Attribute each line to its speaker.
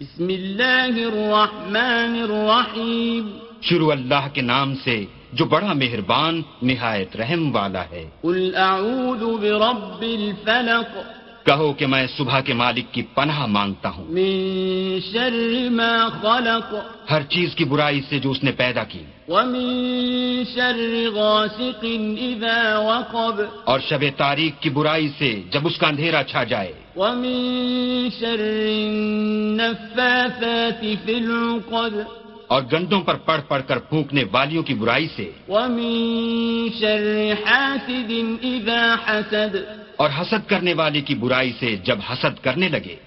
Speaker 1: بسم الله الرحمن الرحيم
Speaker 2: शुरू अल्लाह के नाम से जो बड़ा मेहरबान निहायत रहम वाला है
Speaker 1: قل أعوذ برب الفلق
Speaker 2: कहो कि मैं सुबह के मालिक की पनाह मांगता हूँ
Speaker 1: من شر ما خلق
Speaker 2: हर चीज की बुराई से जो उसने पैदा की
Speaker 1: ومن شر غاسق إذا وقب
Speaker 2: और शब तारीख की बुराई से जब उसका अंधेरा छा जाए
Speaker 1: ومن شر النفاثات في العقد
Speaker 2: और गंदों पर पड़ पड़ कर फूकने वालियों की बुराई से
Speaker 1: ومن شر حاسد إذا حسد
Speaker 2: और हसद करने वाले की बुराई से जब हसद करने लगे